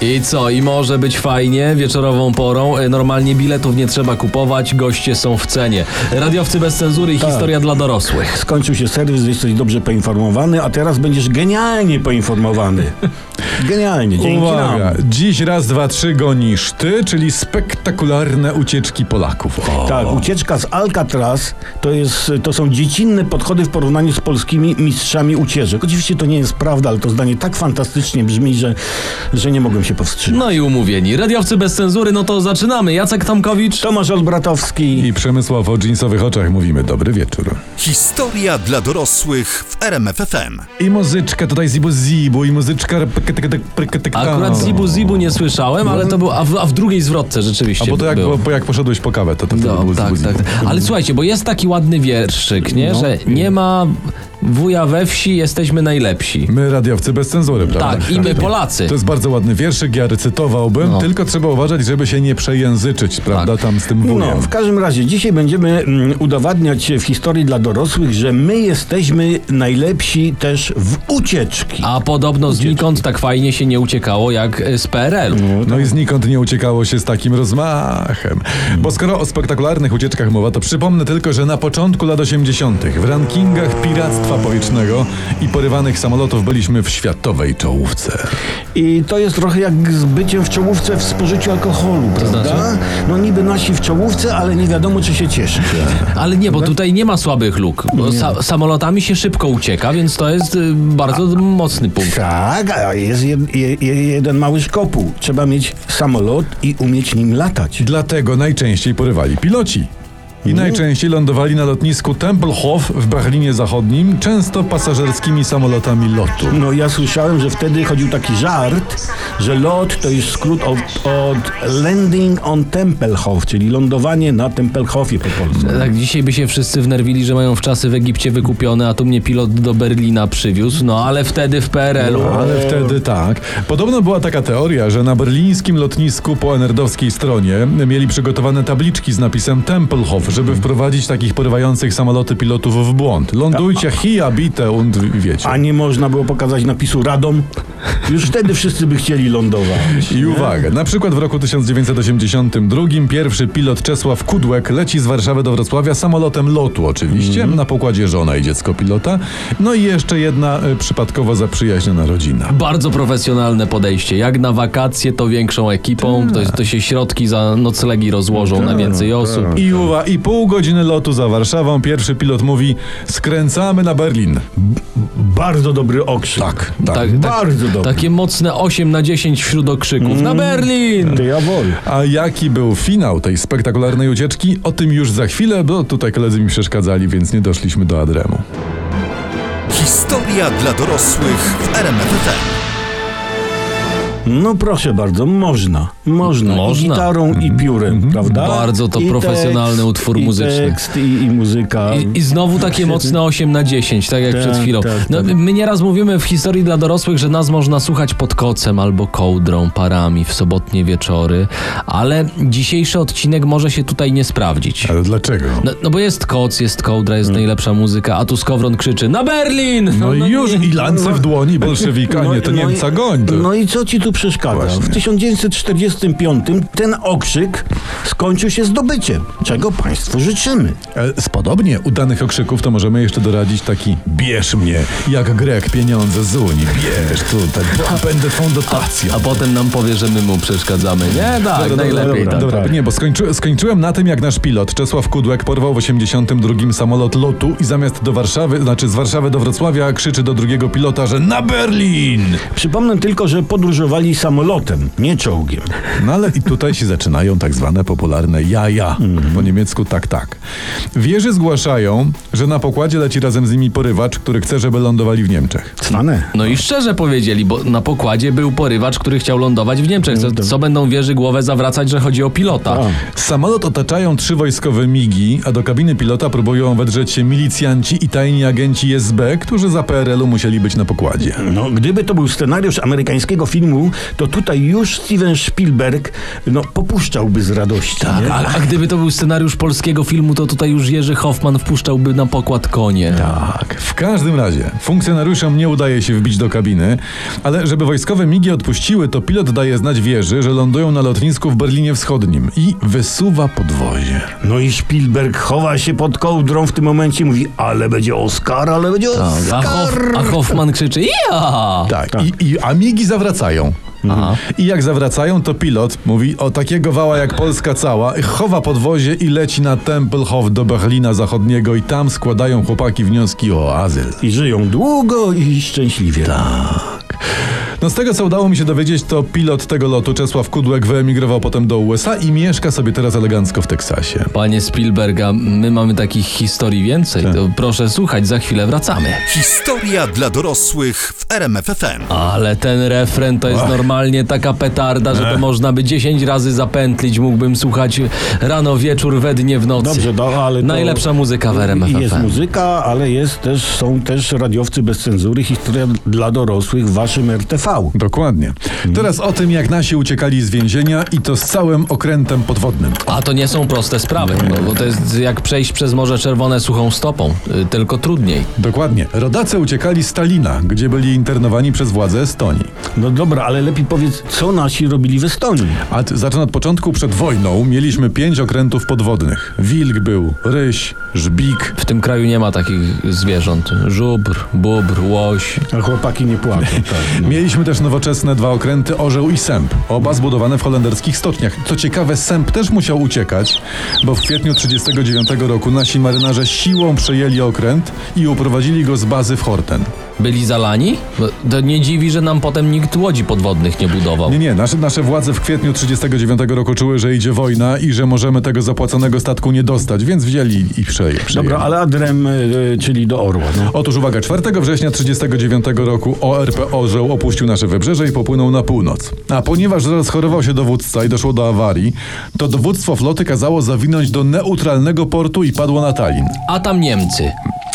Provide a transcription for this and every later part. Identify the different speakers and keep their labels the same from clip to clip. Speaker 1: I co, i może być fajnie wieczorową porą. E, Normalnie biletów nie trzeba kupować, goście są w cenie. Radiowcy bez cenzury
Speaker 2: Tak.
Speaker 1: i historia dla dorosłych.
Speaker 3: Skończył się serwis, jesteś dobrze poinformowany, a teraz będziesz genialnie poinformowany. Genialnie, dzięki
Speaker 2: Uwaga,
Speaker 3: nam.
Speaker 2: dziś raz, dwa, trzy gonisz ty, czyli spektakularne ucieczki Polaków. O.
Speaker 3: Tak, ucieczka z Alcatraz to, jest, to są dziecinne podchody w porównaniu z polskimi mistrzami ucieczek. Oczywiście to nie jest prawda, ale to zdanie tak fantastycznie brzmi, że, że nie mogłem się powstrzymać.
Speaker 1: No i umówieni. Radiowcy bez cenzury, no to zaczynamy. Jacek Tomkowicz.
Speaker 3: Tomasz Olbratowski.
Speaker 2: I Przemysław o dżinsowych oczach mówimy dobry wieczór.
Speaker 4: Historia dla dorosłych w RMFFM.
Speaker 2: I muzyczka tutaj zibu zibu, i muzyczka...
Speaker 1: Akurat Zibu Zibu nie słyszałem, ale to był. A w, a w drugiej zwrotce rzeczywiście.
Speaker 2: A bo to jak,
Speaker 1: było.
Speaker 2: po- po, jak poszedłeś po kawę, to, to wtedy
Speaker 1: No,
Speaker 2: było
Speaker 1: tak,
Speaker 2: zibu,
Speaker 1: tak.
Speaker 2: zibu.
Speaker 1: Ale słuchajcie, bo jest taki ładny wierszyk, nie?
Speaker 2: No.
Speaker 1: Że nie ma wuja we wsi, jesteśmy najlepsi.
Speaker 2: My radiowcy bez cenzury, prawda?
Speaker 1: Tak, i my Polacy.
Speaker 2: To jest bardzo ładny wierszyk, ja recytowałbym,
Speaker 1: No. Tak.
Speaker 2: tylko trzeba uważać, żeby się nie przejęzyczyć, prawda, tam z tym wujem.
Speaker 3: No, w każdym razie dzisiaj będziemy mm, udowadniać w historii dla dorosłych, że my jesteśmy najlepsi też w ucieczki.
Speaker 1: A podobno znikąd tak fajnie się nie uciekało jak e, z PRL-u.
Speaker 2: No i znikąd nie uciekało się z takim rozmachem. Bo skoro o spektakularnych ucieczkach mowa, to przypomnę tylko, że na początku lat 80. w rankingach piractwa powietrznego i porywanych samolotów byliśmy w światowej czołówce.
Speaker 3: I to jest trochę jak z byciem w czołówce w spożyciu alkoholu, prawda?
Speaker 1: znaczy?
Speaker 3: No niby nasi w czołówce, ale nie wiadomo czy się cieszy.
Speaker 1: Ale nie, bo tutaj nie ma słabych luk. Bo sa samolotami się szybko ucieka, więc to jest y, bardzo mocny punkt.
Speaker 3: Tak, a jest jed, je, je, jeden mały szkopuł. Trzeba mieć samolot i umieć nim latać.
Speaker 2: Dlatego najczęściej porywali piloci. I najczęściej lądowali na lotnisku Tempelhof w Berlinie Zachodnim, często pasażerskimi samolotami lotu.
Speaker 3: No ja słyszałem, że wtedy chodził taki żart, że lot to jest skrót od, od landing on Tempelhof, czyli lądowanie na Tempelhofie po polsku.
Speaker 1: Tak, dzisiaj by się wszyscy wnerwili, że mają wczasy w Egipcie wykupione, a tu mnie pilot do Berlina przywiózł. No ale wtedy w PRL-u.
Speaker 2: No, Ale wtedy tak. Podobno była taka teoria, że na berlińskim lotnisku po enerdowskiej stronie mieli przygotowane tabliczki z napisem Tempelhof, żeby wprowadzić takich porywających samoloty pilotów w błąd. Lądujcie hia bite und wiecie.
Speaker 3: A nie można było pokazać napisu Radom? Już wtedy wszyscy by chcieli lądować.
Speaker 2: I uwaga, na przykład w roku 1982 pierwszy pilot Czesław Kudłek leci z Warszawy do Wrocławia samolotem lotu oczywiście, na pokładzie żona i dziecko pilota, no i jeszcze jedna y, przypadkowo zaprzyjaźniona rodzina.
Speaker 1: Bardzo profesjonalne podejście. Jak na wakacje, to większą ekipą. To, to się środki za noclegi rozłożą na więcej osób.
Speaker 2: I uwa, i pół godziny lotu za Warszawą pierwszy pilot mówi skręcamy na Berlin.
Speaker 3: Bardzo dobry okrzyk.
Speaker 2: Tak,
Speaker 1: Tak, tak,
Speaker 3: Bardzo dobry.
Speaker 1: takie mocne 8 na 10 wśród okrzyków. Na Berlin!
Speaker 3: To ja wolę.
Speaker 2: A jaki był finał tej spektakularnej ucieczki? O tym już za chwilę, bo tutaj koledzy mi przeszkadzali, więc nie doszliśmy do Adremu.
Speaker 4: Historia dla dorosłych w RMFFM.
Speaker 3: No proszę bardzo, można. Można.
Speaker 1: Można. Mhm.
Speaker 3: I gitarą i piórem, prawda?
Speaker 1: Bardzo to
Speaker 3: I
Speaker 1: profesjonalny
Speaker 3: tekst,
Speaker 1: utwór
Speaker 3: i
Speaker 1: muzyczny.
Speaker 3: Tekst, i, i muzyka.
Speaker 1: I, I znowu takie mocne 8 na 10, tak jak
Speaker 3: Tak,
Speaker 1: przed chwilą.
Speaker 3: tak,
Speaker 1: No,
Speaker 3: tak.
Speaker 1: my nieraz mówimy w historii dla dorosłych, że nas można słuchać pod kocem albo kołdrą, parami w sobotnie wieczory, ale dzisiejszy odcinek może się tutaj nie sprawdzić.
Speaker 2: Ale dlaczego?
Speaker 1: No, no bo jest koc, jest kołdra,
Speaker 3: No.
Speaker 1: jest najlepsza muzyka, a tu Skowron krzyczy na Berlin!
Speaker 2: No i już i lance w dłoni bolszewika, nie, to Niemca
Speaker 3: No i,
Speaker 2: goń. To.
Speaker 3: No i co ci tu przeszkadza? W 1945 ten okrzyk skończył się zdobyciem, czego Państwu życzymy.
Speaker 2: E, Z podobnie udanych okrzyków to możemy jeszcze doradzić taki bierz mnie, jak Grek pieniądze z Unii, bierz tutaj, bo będę fundatacją.
Speaker 1: A potem nam powie, że my mu przeszkadzamy. Nie, tak, najlepiej
Speaker 3: dobra,
Speaker 1: tak.
Speaker 2: Dobra,
Speaker 3: tak.
Speaker 2: nie, bo skończy, skończyłem na tym, jak nasz pilot Czesław Kudłek porwał w 82 samolot lotu i zamiast do Warszawy, znaczy z Warszawy do Wrocławia krzyczy do drugiego pilota, że na Berlin!
Speaker 3: Przypomnę tylko, że podróżowali lecieli samolotem, nie czołgiem.
Speaker 2: No ale i tutaj się zaczynają tak zwane popularne jaja. Po niemiecku tak, tak. Wieży zgłaszają, że na pokładzie leci razem z nimi porywacz, który chce, żeby lądowali w Niemczech.
Speaker 3: Cwane.
Speaker 1: No i szczerze powiedzieli, bo na pokładzie był porywacz, który chciał lądować w
Speaker 3: No,
Speaker 1: Niemczech. Co, co będą wieży głowę zawracać, że chodzi o pilota?
Speaker 2: Samolot otaczają trzy wojskowe migi, a do kabiny pilota próbują wedrzeć się milicjanci i tajni agenci SB, którzy za PRL-u musieli być na pokładzie.
Speaker 3: No, gdyby to był scenariusz amerykańskiego filmu, to tutaj już Steven Spielberg no, popuszczałby z radości.
Speaker 1: A,
Speaker 3: nie?
Speaker 1: Tak, a, a gdyby to był scenariusz polskiego filmu, to tutaj już Jerzy Hoffman wpuszczałby na pokład konie.
Speaker 2: Tak. W każdym razie funkcjonariuszom nie udaje się wbić do kabiny, ale żeby wojskowe migi odpuściły, to pilot daje znać wieży, że lądują na lotnisku w Berlinie Wschodnim i wysuwa podwozie.
Speaker 3: No i Spielberg chowa się pod kołdrą w tym momencie i mówi, ale będzie Oscar, ale będzie Oscar.
Speaker 1: Tak, A, Hoff, a Hoffman krzyczy ja!
Speaker 2: Tak. I, i a migi zawracają. I jak zawracają, to pilot mówi o takiego wała jak Polska cała, chowa podwozie i leci na Tempelhof do Berlina Zachodniego i tam składają chłopaki wnioski o azyl.
Speaker 3: I żyją długo i szczęśliwie.
Speaker 1: Tak.
Speaker 2: No z tego co udało mi się dowiedzieć, to pilot tego lotu Czesław Kudłek wyemigrował potem do USA i mieszka sobie teraz elegancko w Teksasie.
Speaker 1: Panie Spielberga, my mamy takich historii więcej. To proszę słuchać, za chwilę wracamy.
Speaker 4: Historia dla dorosłych w RMFFM.
Speaker 1: Ale ten refren to jest normalnie taka petarda, że to można by 10 razy zapętlić. Mógłbym słuchać rano, wieczór, we dnie, w nocy.
Speaker 3: Dobrze, do, ale to-
Speaker 1: Najlepsza muzyka w RMF
Speaker 3: Jest
Speaker 1: FM.
Speaker 3: muzyka, ale jest też, są też radiowcy bez cenzury, historia dla dorosłych w waszym RTV.
Speaker 2: Dokładnie. Teraz o tym, jak nasi uciekali z więzienia i to z całym okrętem podwodnym.
Speaker 1: A to nie są proste sprawy, no, bo to jest jak przejść przez Morze Czerwone suchą stopą, y, tylko trudniej.
Speaker 2: Dokładnie. Rodacy uciekali z Talina, gdzie byli internowani przez władze Estonii.
Speaker 3: No dobra, ale lepiej powiedz, co nasi robili w Estonii.
Speaker 2: A t- zacznę od początku. Przed wojną mieliśmy pięć okrętów podwodnych. Wilk był, ryś, żbik.
Speaker 1: W tym kraju nie ma takich zwierząt. Żubr, bóbr, łoś.
Speaker 3: A chłopaki nie płaczą. Tak, no.
Speaker 2: Mieliśmy też nowoczesne dwa okręty Orzeł i Sęp, oba zbudowane w holenderskich stoczniach. Co ciekawe, Sęp też musiał uciekać, bo w kwietniu 1939 roku nasi marynarze siłą przejęli okręt i uprowadzili go z bazy w Horten.
Speaker 1: Byli zalani? Bo To nie dziwi, że nam potem nikt łodzi podwodnych nie budował.
Speaker 2: Nie, nie, nasze, nasze władze w kwietniu 1939 roku czuły, że idzie wojna i że możemy tego zapłaconego statku nie dostać, więc wzięli i przejęli.
Speaker 3: Dobra, ale adrem, y, czyli do Orła. No.
Speaker 2: Otóż uwaga, 4 września 1939 roku ORP Orzeł opuścił nasze wybrzeże i popłynął na północ. A ponieważ rozchorował się dowódca i doszło do awarii, to dowództwo floty kazało zawinąć do neutralnego portu i padło na Tallin.
Speaker 1: A tam Niemcy.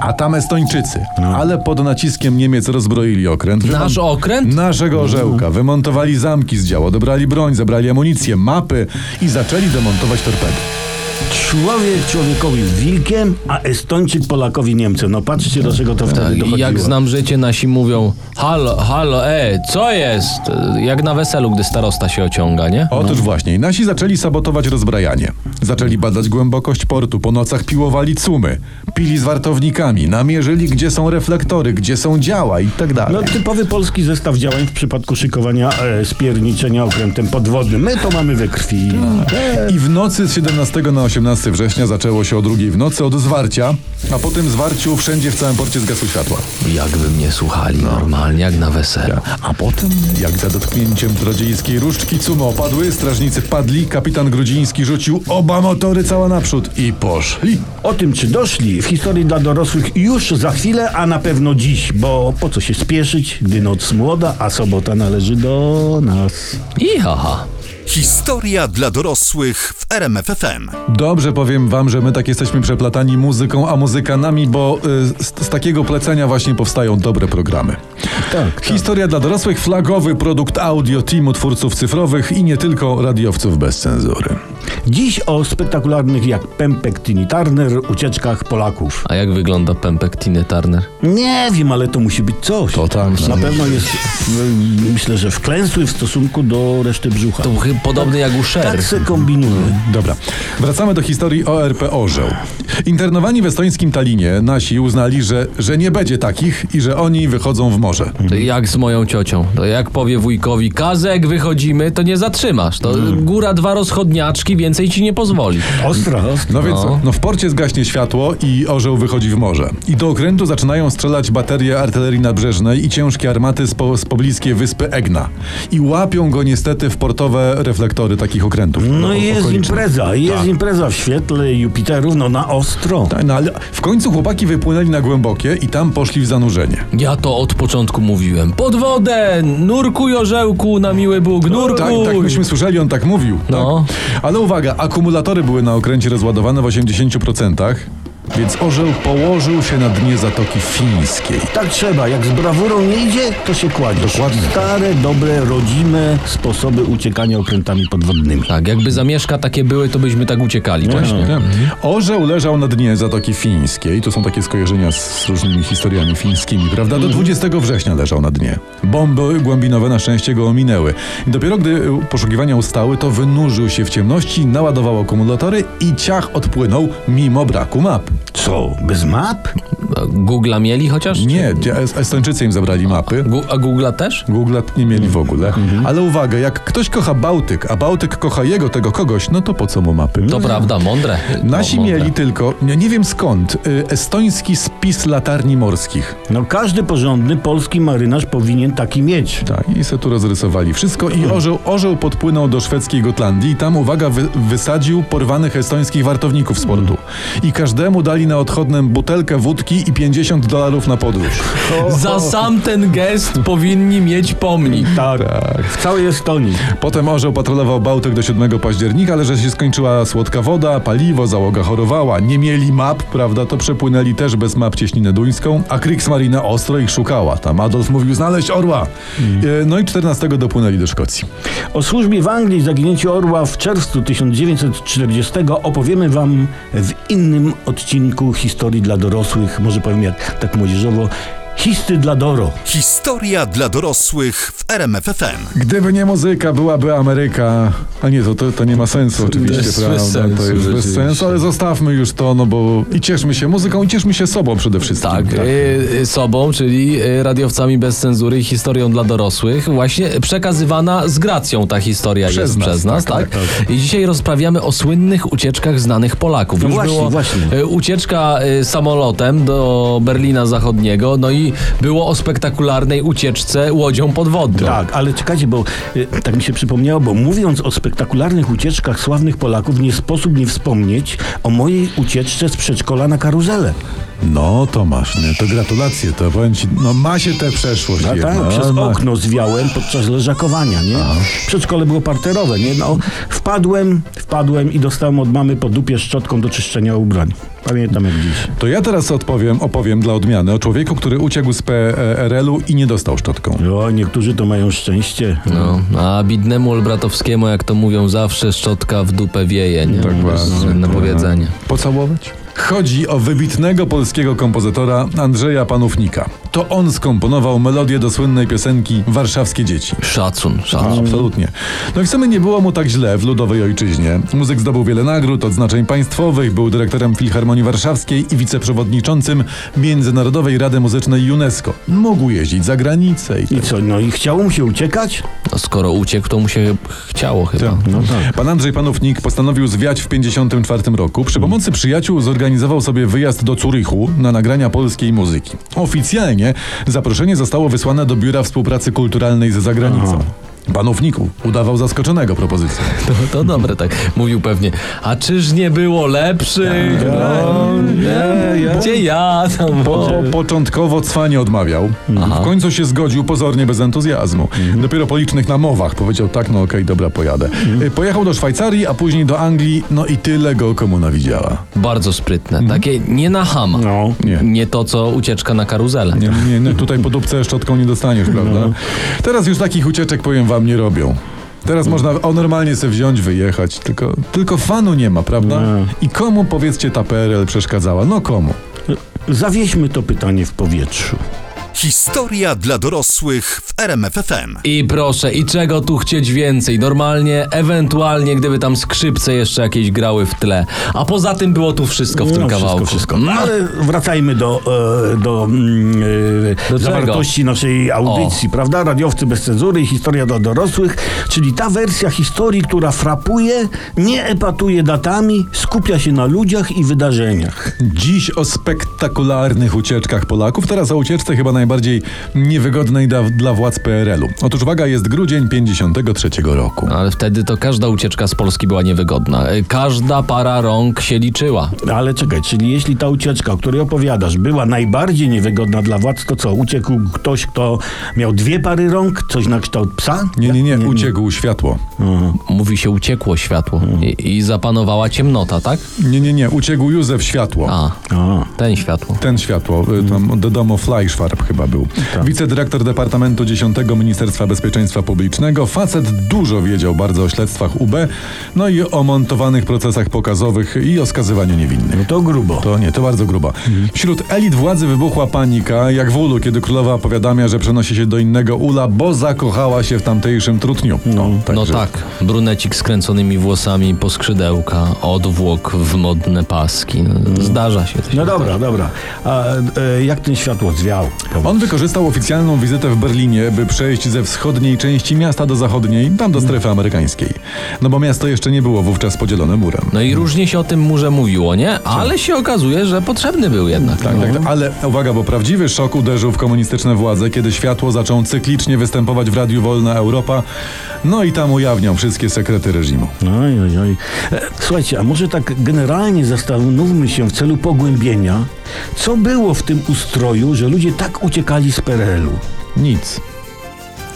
Speaker 2: A tam Estończycy. Ale pod naciskiem Niemiec rozbroili okręt. Wymon-
Speaker 1: Nasz okręt?
Speaker 2: Naszego orzełka. Wymontowali zamki z działa, dobrali broń, zabrali amunicję, mapy i zaczęli demontować torpedy.
Speaker 3: Człowiek człowiekowi wilkiem, a Estończyk Polakowi Niemcem. No patrzcie, do czego to wtedy
Speaker 1: Tak, I
Speaker 3: dochodziło.
Speaker 1: jak znam życie, nasi mówią Halo, halo, e, co jest? Jak na weselu, gdy starosta się ociąga, nie?
Speaker 2: Otóż właśnie, nasi zaczęli sabotować rozbrajanie. Zaczęli badać głębokość portu, po nocach piłowali cumy, pili z wartownikami, namierzyli gdzie są reflektory, gdzie są działa i tak dalej.
Speaker 3: No typowy polski zestaw działań w przypadku szykowania e, spierniczenia okrętem podwodnym. My to mamy we krwi.
Speaker 2: I w nocy z 17 na 18 września zaczęło się o drugiej w nocy od zwarcia, a po tym zwarciu wszędzie w całym porcie zgasły światła.
Speaker 1: Jakby mnie słuchali
Speaker 3: No.
Speaker 1: normalnie, jak na weselu.
Speaker 2: A potem, jak za dotknięciem drodziejskiej różdżki cumy opadły, strażnicy padli, kapitan Grudziński rzucił oba motory cała naprzód i poszli.
Speaker 3: O tym, czy doszli w historii dla dorosłych już za chwilę, a na pewno dziś, bo po co się spieszyć, gdy noc młoda, a sobota należy do nas.
Speaker 1: I haha.
Speaker 4: Historia dla dorosłych w RMFFM.
Speaker 2: Dobrze powiem wam, że my tak jesteśmy przeplatani muzyką, a muzykanami, bo y, z, z takiego plecenia właśnie powstają dobre programy.
Speaker 3: Tak, tak.
Speaker 2: Historia dla dorosłych, flagowy produkt audio teamu twórców cyfrowych i nie tylko radiowców bez cenzury.
Speaker 3: Dziś o spektakularnych jak Pępek Tini Turner ucieczkach Polaków.
Speaker 1: A jak wygląda pępek Tiny Turner?
Speaker 3: Nie wiem, ale to musi być coś.
Speaker 2: To tak,
Speaker 3: Na
Speaker 2: tak.
Speaker 3: pewno jest, w- myślę, że wklęsły w stosunku do reszty brzucha.
Speaker 1: To chyba podobny jak u Cher.
Speaker 3: Tak se kombinuje.
Speaker 2: Dobra, wracamy do historii ORP Orzeł. Internowani w estońskim Talinie nasi uznali, że, że nie będzie takich i że oni wychodzą w morze.
Speaker 1: To jak z moją
Speaker 2: Mhm.
Speaker 1: ciocią. To jak powie wujkowi, Kazek, wychodzimy, to nie zatrzymasz. To góra dwa rozchodniaczki, Polski więcej ci nie pozwoli.
Speaker 3: Ostra, ostra.
Speaker 2: No więc
Speaker 1: No.
Speaker 2: no. w porcie zgaśnie światło i orzeł wychodzi w morze. I do okrętu zaczynają strzelać baterie artylerii nabrzeżnej i ciężkie armaty z, po, z pobliskiej wyspy Egna. I łapią go niestety w portowe reflektory takich okrętów.
Speaker 3: No
Speaker 2: o-
Speaker 3: i jest
Speaker 2: okolicznych.
Speaker 3: impreza, i jest
Speaker 2: Tak.
Speaker 3: impreza w świetle Jupiterów, no na ostro.
Speaker 2: Tak, no ale w końcu chłopaki wypłynęli na głębokie i tam poszli w zanurzenie.
Speaker 1: Ja to od początku mówiłem. Pod wodę! Nurkuj orzełku na miły Bóg,
Speaker 2: tak,
Speaker 1: nurkuj!
Speaker 2: tak myśmy słyszeli, on tak mówił. tak?
Speaker 1: No.
Speaker 2: Ale uwaga, akumulatory były na okręcie rozładowane w 80%, więc orzeł położył się na dnie Zatoki Fińskiej.
Speaker 3: Tak trzeba, jak z brawurą nie idzie, to się kładziesz.
Speaker 2: Dokładnie.
Speaker 3: Stare, dobre, rodzime sposoby uciekania okrętami podwodnymi.
Speaker 1: Tak, jakby zamieszka takie były, to byśmy tak
Speaker 2: No,
Speaker 1: uciekali właśnie.
Speaker 2: Właśnie. Orzeł leżał na dnie Zatoki Fińskiej. To są takie skojarzenia z, z różnymi historiami fińskimi, prawda? Do 20 września leżał na dnie. Bomby głębinowe na szczęście go ominęły. I dopiero gdy y, poszukiwania ustały, to wynurzył się w ciemności, naładował akumulatory i ciach odpłynął mimo braku map.
Speaker 3: Co, bez map?
Speaker 1: Googla mieli chociaż?
Speaker 2: no. Nie, dzie- Es- Estończycy im zabrali mapy.
Speaker 1: Gu- a Googla też?
Speaker 2: Google nie mieli w ogóle. Ale uwaga, jak ktoś kocha Bałtyk, a Bałtyk kocha jego, tego kogoś, no to po co mu mapy?
Speaker 1: To prawda, mądre.
Speaker 2: Nasi
Speaker 1: No, mądre.
Speaker 2: mieli tylko, nie, nie wiem skąd, y, estoński spis latarni morskich.
Speaker 3: No każdy porządny polski marynarz powinien taki mieć.
Speaker 2: Tak, i se tu rozrysowali wszystko i orzeł, orzeł podpłynął do szwedzkiej Gotlandii i tam, uwaga, wy, wysadził porwanych estońskich wartowników z portu. I każdemu dali na odchodnem butelkę wódki i 50 dolarów na podróż.
Speaker 1: Za sam ten gest powinni mieć pomnik.
Speaker 3: Tak, w całej Estonii.
Speaker 2: Potem orzeł patrolował Bałtyk do 7 października, ale że się skończyła słodka woda, paliwo, załoga chorowała, nie mieli map, prawda, to przepłynęli też bez map cieśninę duńską, a Kriegsmarina ostro ich szukała. Tam Adolf mówił znaleźć orła.
Speaker 1: Mm.
Speaker 2: E, No i 14 dopłynęli do Szkocji.
Speaker 3: O służbie w Anglii i zaginięciu orła w czerwcu 1940 opowiemy wam w innym odcinku historii dla dorosłych, może powiem jak tak młodzieżowo, histy dla Doro.
Speaker 4: Historia dla dorosłych w RMFFM.
Speaker 2: Gdyby nie muzyka, byłaby Ameryka. A nie, to, to, to nie ma sensu oczywiście,
Speaker 1: jest bez
Speaker 2: prawda?
Speaker 1: sensu,
Speaker 2: to jest bez
Speaker 1: rzeczywiście.
Speaker 2: sensu, ale zostawmy już to, no bo i cieszmy się muzyką, i cieszmy się sobą przede wszystkim.
Speaker 1: Tak, y, y, sobą, czyli y, radiowcami bez cenzury i historią dla dorosłych. Właśnie przekazywana z gracją ta historia
Speaker 2: Przez
Speaker 1: jest
Speaker 2: nas,
Speaker 1: przez nas, tak,
Speaker 2: tak,
Speaker 1: I dzisiaj rozprawiamy o słynnych ucieczkach znanych Polaków.
Speaker 3: No właśnie,
Speaker 1: było
Speaker 3: właśnie.
Speaker 1: y, ucieczka y, samolotem do Berlina Zachodniego, no i było o spektakularnej ucieczce łodzią podwodną.
Speaker 3: Tak, ale czekajcie, bo y, tak mi się przypomniało, bo mówiąc o spektakularnych ucieczkach sławnych Polaków, nie sposób nie wspomnieć o mojej ucieczce z przedszkola na karuzelę.
Speaker 2: No Tomasz, nie, to gratulacje, to powiem ci, no ma się tę przeszłość
Speaker 1: No
Speaker 3: A
Speaker 2: jednak.
Speaker 3: tak, przez
Speaker 2: ma.
Speaker 3: okno zwiałem podczas leżakowania, nie? Przedszkole było parterowe, nie? No, wpadłem, wpadłem i dostałem od mamy po dupie szczotką do czyszczenia ubrań. Pamiętam jak dziś.
Speaker 2: To ja teraz odpowiem, opowiem dla odmiany o człowieku, który uciekł z PRL-u i nie dostał szczotką.
Speaker 3: O, No, niektórzy to mają szczęście.
Speaker 1: No, a bidnemu Olbratowskiemu, jak to mówią zawsze, szczotka w dupę wieje, nie?
Speaker 2: Tak
Speaker 1: To jest
Speaker 2: właśnie,
Speaker 1: słynne powiedzenie.
Speaker 2: Pocałować? Chodzi o wybitnego polskiego kompozytora Andrzeja Panównika. To on skomponował melodię do słynnej piosenki Warszawskie Dzieci.
Speaker 1: Szacun, szacun.
Speaker 2: Absolutnie. No i w sumie nie było mu tak źle w ludowej ojczyźnie. Muzyk zdobył wiele nagród, odznaczeń państwowych, był dyrektorem Filharmonii Warszawskiej i wiceprzewodniczącym Międzynarodowej Rady Muzycznej UNESCO. Mógł jeździć za granicę i tak
Speaker 3: I co, no i chciało mu się uciekać?
Speaker 1: No, skoro uciekł, to mu się chciało chyba.
Speaker 2: Tak.
Speaker 3: No tak.
Speaker 2: Pan Andrzej Panównik postanowił zwiać w 1954 roku. Przy pomocy przyjaciół zorganizował sobie wyjazd do Curychu na nagrania polskiej muzyki. Oficjalnie zaproszenie zostało wysłane do Biura Współpracy Kulturalnej z zagranicą. Panówniku udawał zaskoczonego propozycją.
Speaker 1: To, No to dobre, tak. Mówił pewnie, a czyż nie było lepszych? Gdzie ja tam
Speaker 2: Po, po, początkowo cwanie odmawiał.
Speaker 3: Mhm.
Speaker 2: W końcu się zgodził, pozornie bez entuzjazmu. Dopiero po licznych namowach powiedział tak, no okej, dobra, pojadę.
Speaker 3: Mhm.
Speaker 2: Y, Pojechał do Szwajcarii, a później do Anglii, no i tyle go komuna widziała.
Speaker 1: Bardzo sprytne. Takie nie na hama.
Speaker 3: No.
Speaker 2: Nie.
Speaker 1: Nie to, co ucieczka na karuzelę.
Speaker 2: Nie, nie, nie, tutaj po dupce szczotką nie dostaniesz, prawda? Teraz już takich ucieczek, powiem wam, nie robią. Teraz można o normalnie sobie wziąć, wyjechać, tylko, tylko fanu nie ma, prawda? I komu, powiedzcie, ta PRL przeszkadzała? No komu?
Speaker 3: Zawieźmy to pytanie w powietrzu.
Speaker 4: Historia dla dorosłych w RMFFM.
Speaker 1: I proszę, i czego tu chcieć więcej? Normalnie, ewentualnie, gdyby tam skrzypce jeszcze jakieś grały w tle. A poza tym było tu wszystko w tym
Speaker 3: No,
Speaker 1: kawałku.
Speaker 3: Wszystko, wszystko. No, ale wracajmy do, e, do, mm, e,
Speaker 1: Do czego?
Speaker 3: zawartości naszej audycji, prawda? Radiowcy bez cenzury i historia dla dorosłych, czyli ta wersja historii, która frapuje, nie epatuje datami, skupia się na ludziach i wydarzeniach.
Speaker 2: Dziś o spektakularnych ucieczkach Polaków, teraz o ucieczce chyba najbardziej niewygodnej dla, dla władz PRL-u. Otóż uwaga, jest grudzień 53 roku.
Speaker 1: Ale wtedy to każda ucieczka z Polski była niewygodna. Y, Każda para rąk się liczyła.
Speaker 3: Ale czekaj, czyli jeśli ta ucieczka, o której opowiadasz, była najbardziej niewygodna dla władz, to co? Uciekł ktoś, kto miał dwie pary rąk, coś na kształt psa?
Speaker 2: Nie, nie,
Speaker 3: No.
Speaker 2: nie, uciekł światło.
Speaker 1: Mówi się uciekło światło i, i zapanowała ciemnota, tak?
Speaker 2: Nie, nie, nie, uciekł Józef światło.
Speaker 1: A,
Speaker 3: A.
Speaker 1: ten światło.
Speaker 2: Ten światło, y,
Speaker 1: Mm.
Speaker 2: tam do domu Fleischfarb chyba był.
Speaker 1: Tak.
Speaker 2: Wicedyrektor Departamentu 10 Ministerstwa Bezpieczeństwa Publicznego. Facet dużo wiedział bardzo o śledztwach UB, no i o montowanych procesach pokazowych i o skazywaniu niewinnych.
Speaker 3: No to grubo.
Speaker 2: To nie, to bardzo gruba.
Speaker 1: Mhm.
Speaker 2: Wśród elit władzy wybuchła panika, jak w ulu, kiedy królowa powiadamia, że przenosi się do innego ula, bo zakochała się w tamtejszym trutniu. No,
Speaker 1: No
Speaker 2: także-
Speaker 1: tak, brunecik z kręconymi włosami po skrzydełka, odwłok w modne paski. No, Zdarza się. to się
Speaker 3: No dobra, dobra. A e, jak ten światło zwiał?
Speaker 2: On wykorzystał oficjalną wizytę w Berlinie, by przejść ze wschodniej części miasta do zachodniej, tam do strefy amerykańskiej. No bo miasto jeszcze nie było wówczas podzielone murem.
Speaker 1: No
Speaker 3: Mhm.
Speaker 1: i różnie się o tym murze mówiło,
Speaker 3: Tak.
Speaker 1: nie? Ale się okazuje, że potrzebny był jednak. No.
Speaker 2: Tak, tak, tak. Ale uwaga, bo prawdziwy szok uderzył w komunistyczne władze, kiedy światło zaczął cyklicznie występować w Radiu Wolna Europa, no i tam ujawniał wszystkie sekrety reżimu.
Speaker 3: Oj, oj, oj. E, Słuchajcie, a może tak generalnie zastanówmy się w celu pogłębienia, co było w tym ustroju, że ludzie tak uciekali z PRL-u?
Speaker 2: Nic.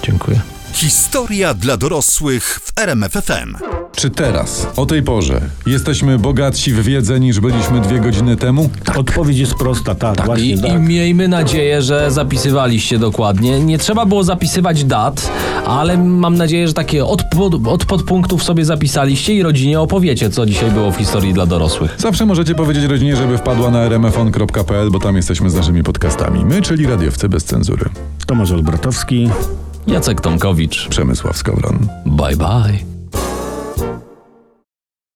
Speaker 1: Dziękuję.
Speaker 4: Historia dla dorosłych w RMFFM.
Speaker 2: Czy teraz, o tej porze, jesteśmy bogatsi w wiedzę niż byliśmy dwie godziny temu?
Speaker 3: Odpowiedź jest prosta, tak, właśnie
Speaker 1: I,
Speaker 3: tak.
Speaker 1: I miejmy nadzieję, że zapisywaliście dokładnie. Nie trzeba było zapisywać dat, ale mam nadzieję, że takie od, pod, od podpunktów sobie zapisaliście i rodzinie opowiecie, co dzisiaj było w historii dla dorosłych.
Speaker 2: Zawsze możecie powiedzieć rodzinie, żeby wpadła na rmfon.pl, bo tam jesteśmy z naszymi podcastami. My, czyli radiowcy bez cenzury.
Speaker 3: Tomasz Olbratowski.
Speaker 1: Jacek Tomkowicz,
Speaker 2: Przemysław Skowron.
Speaker 1: bye bye.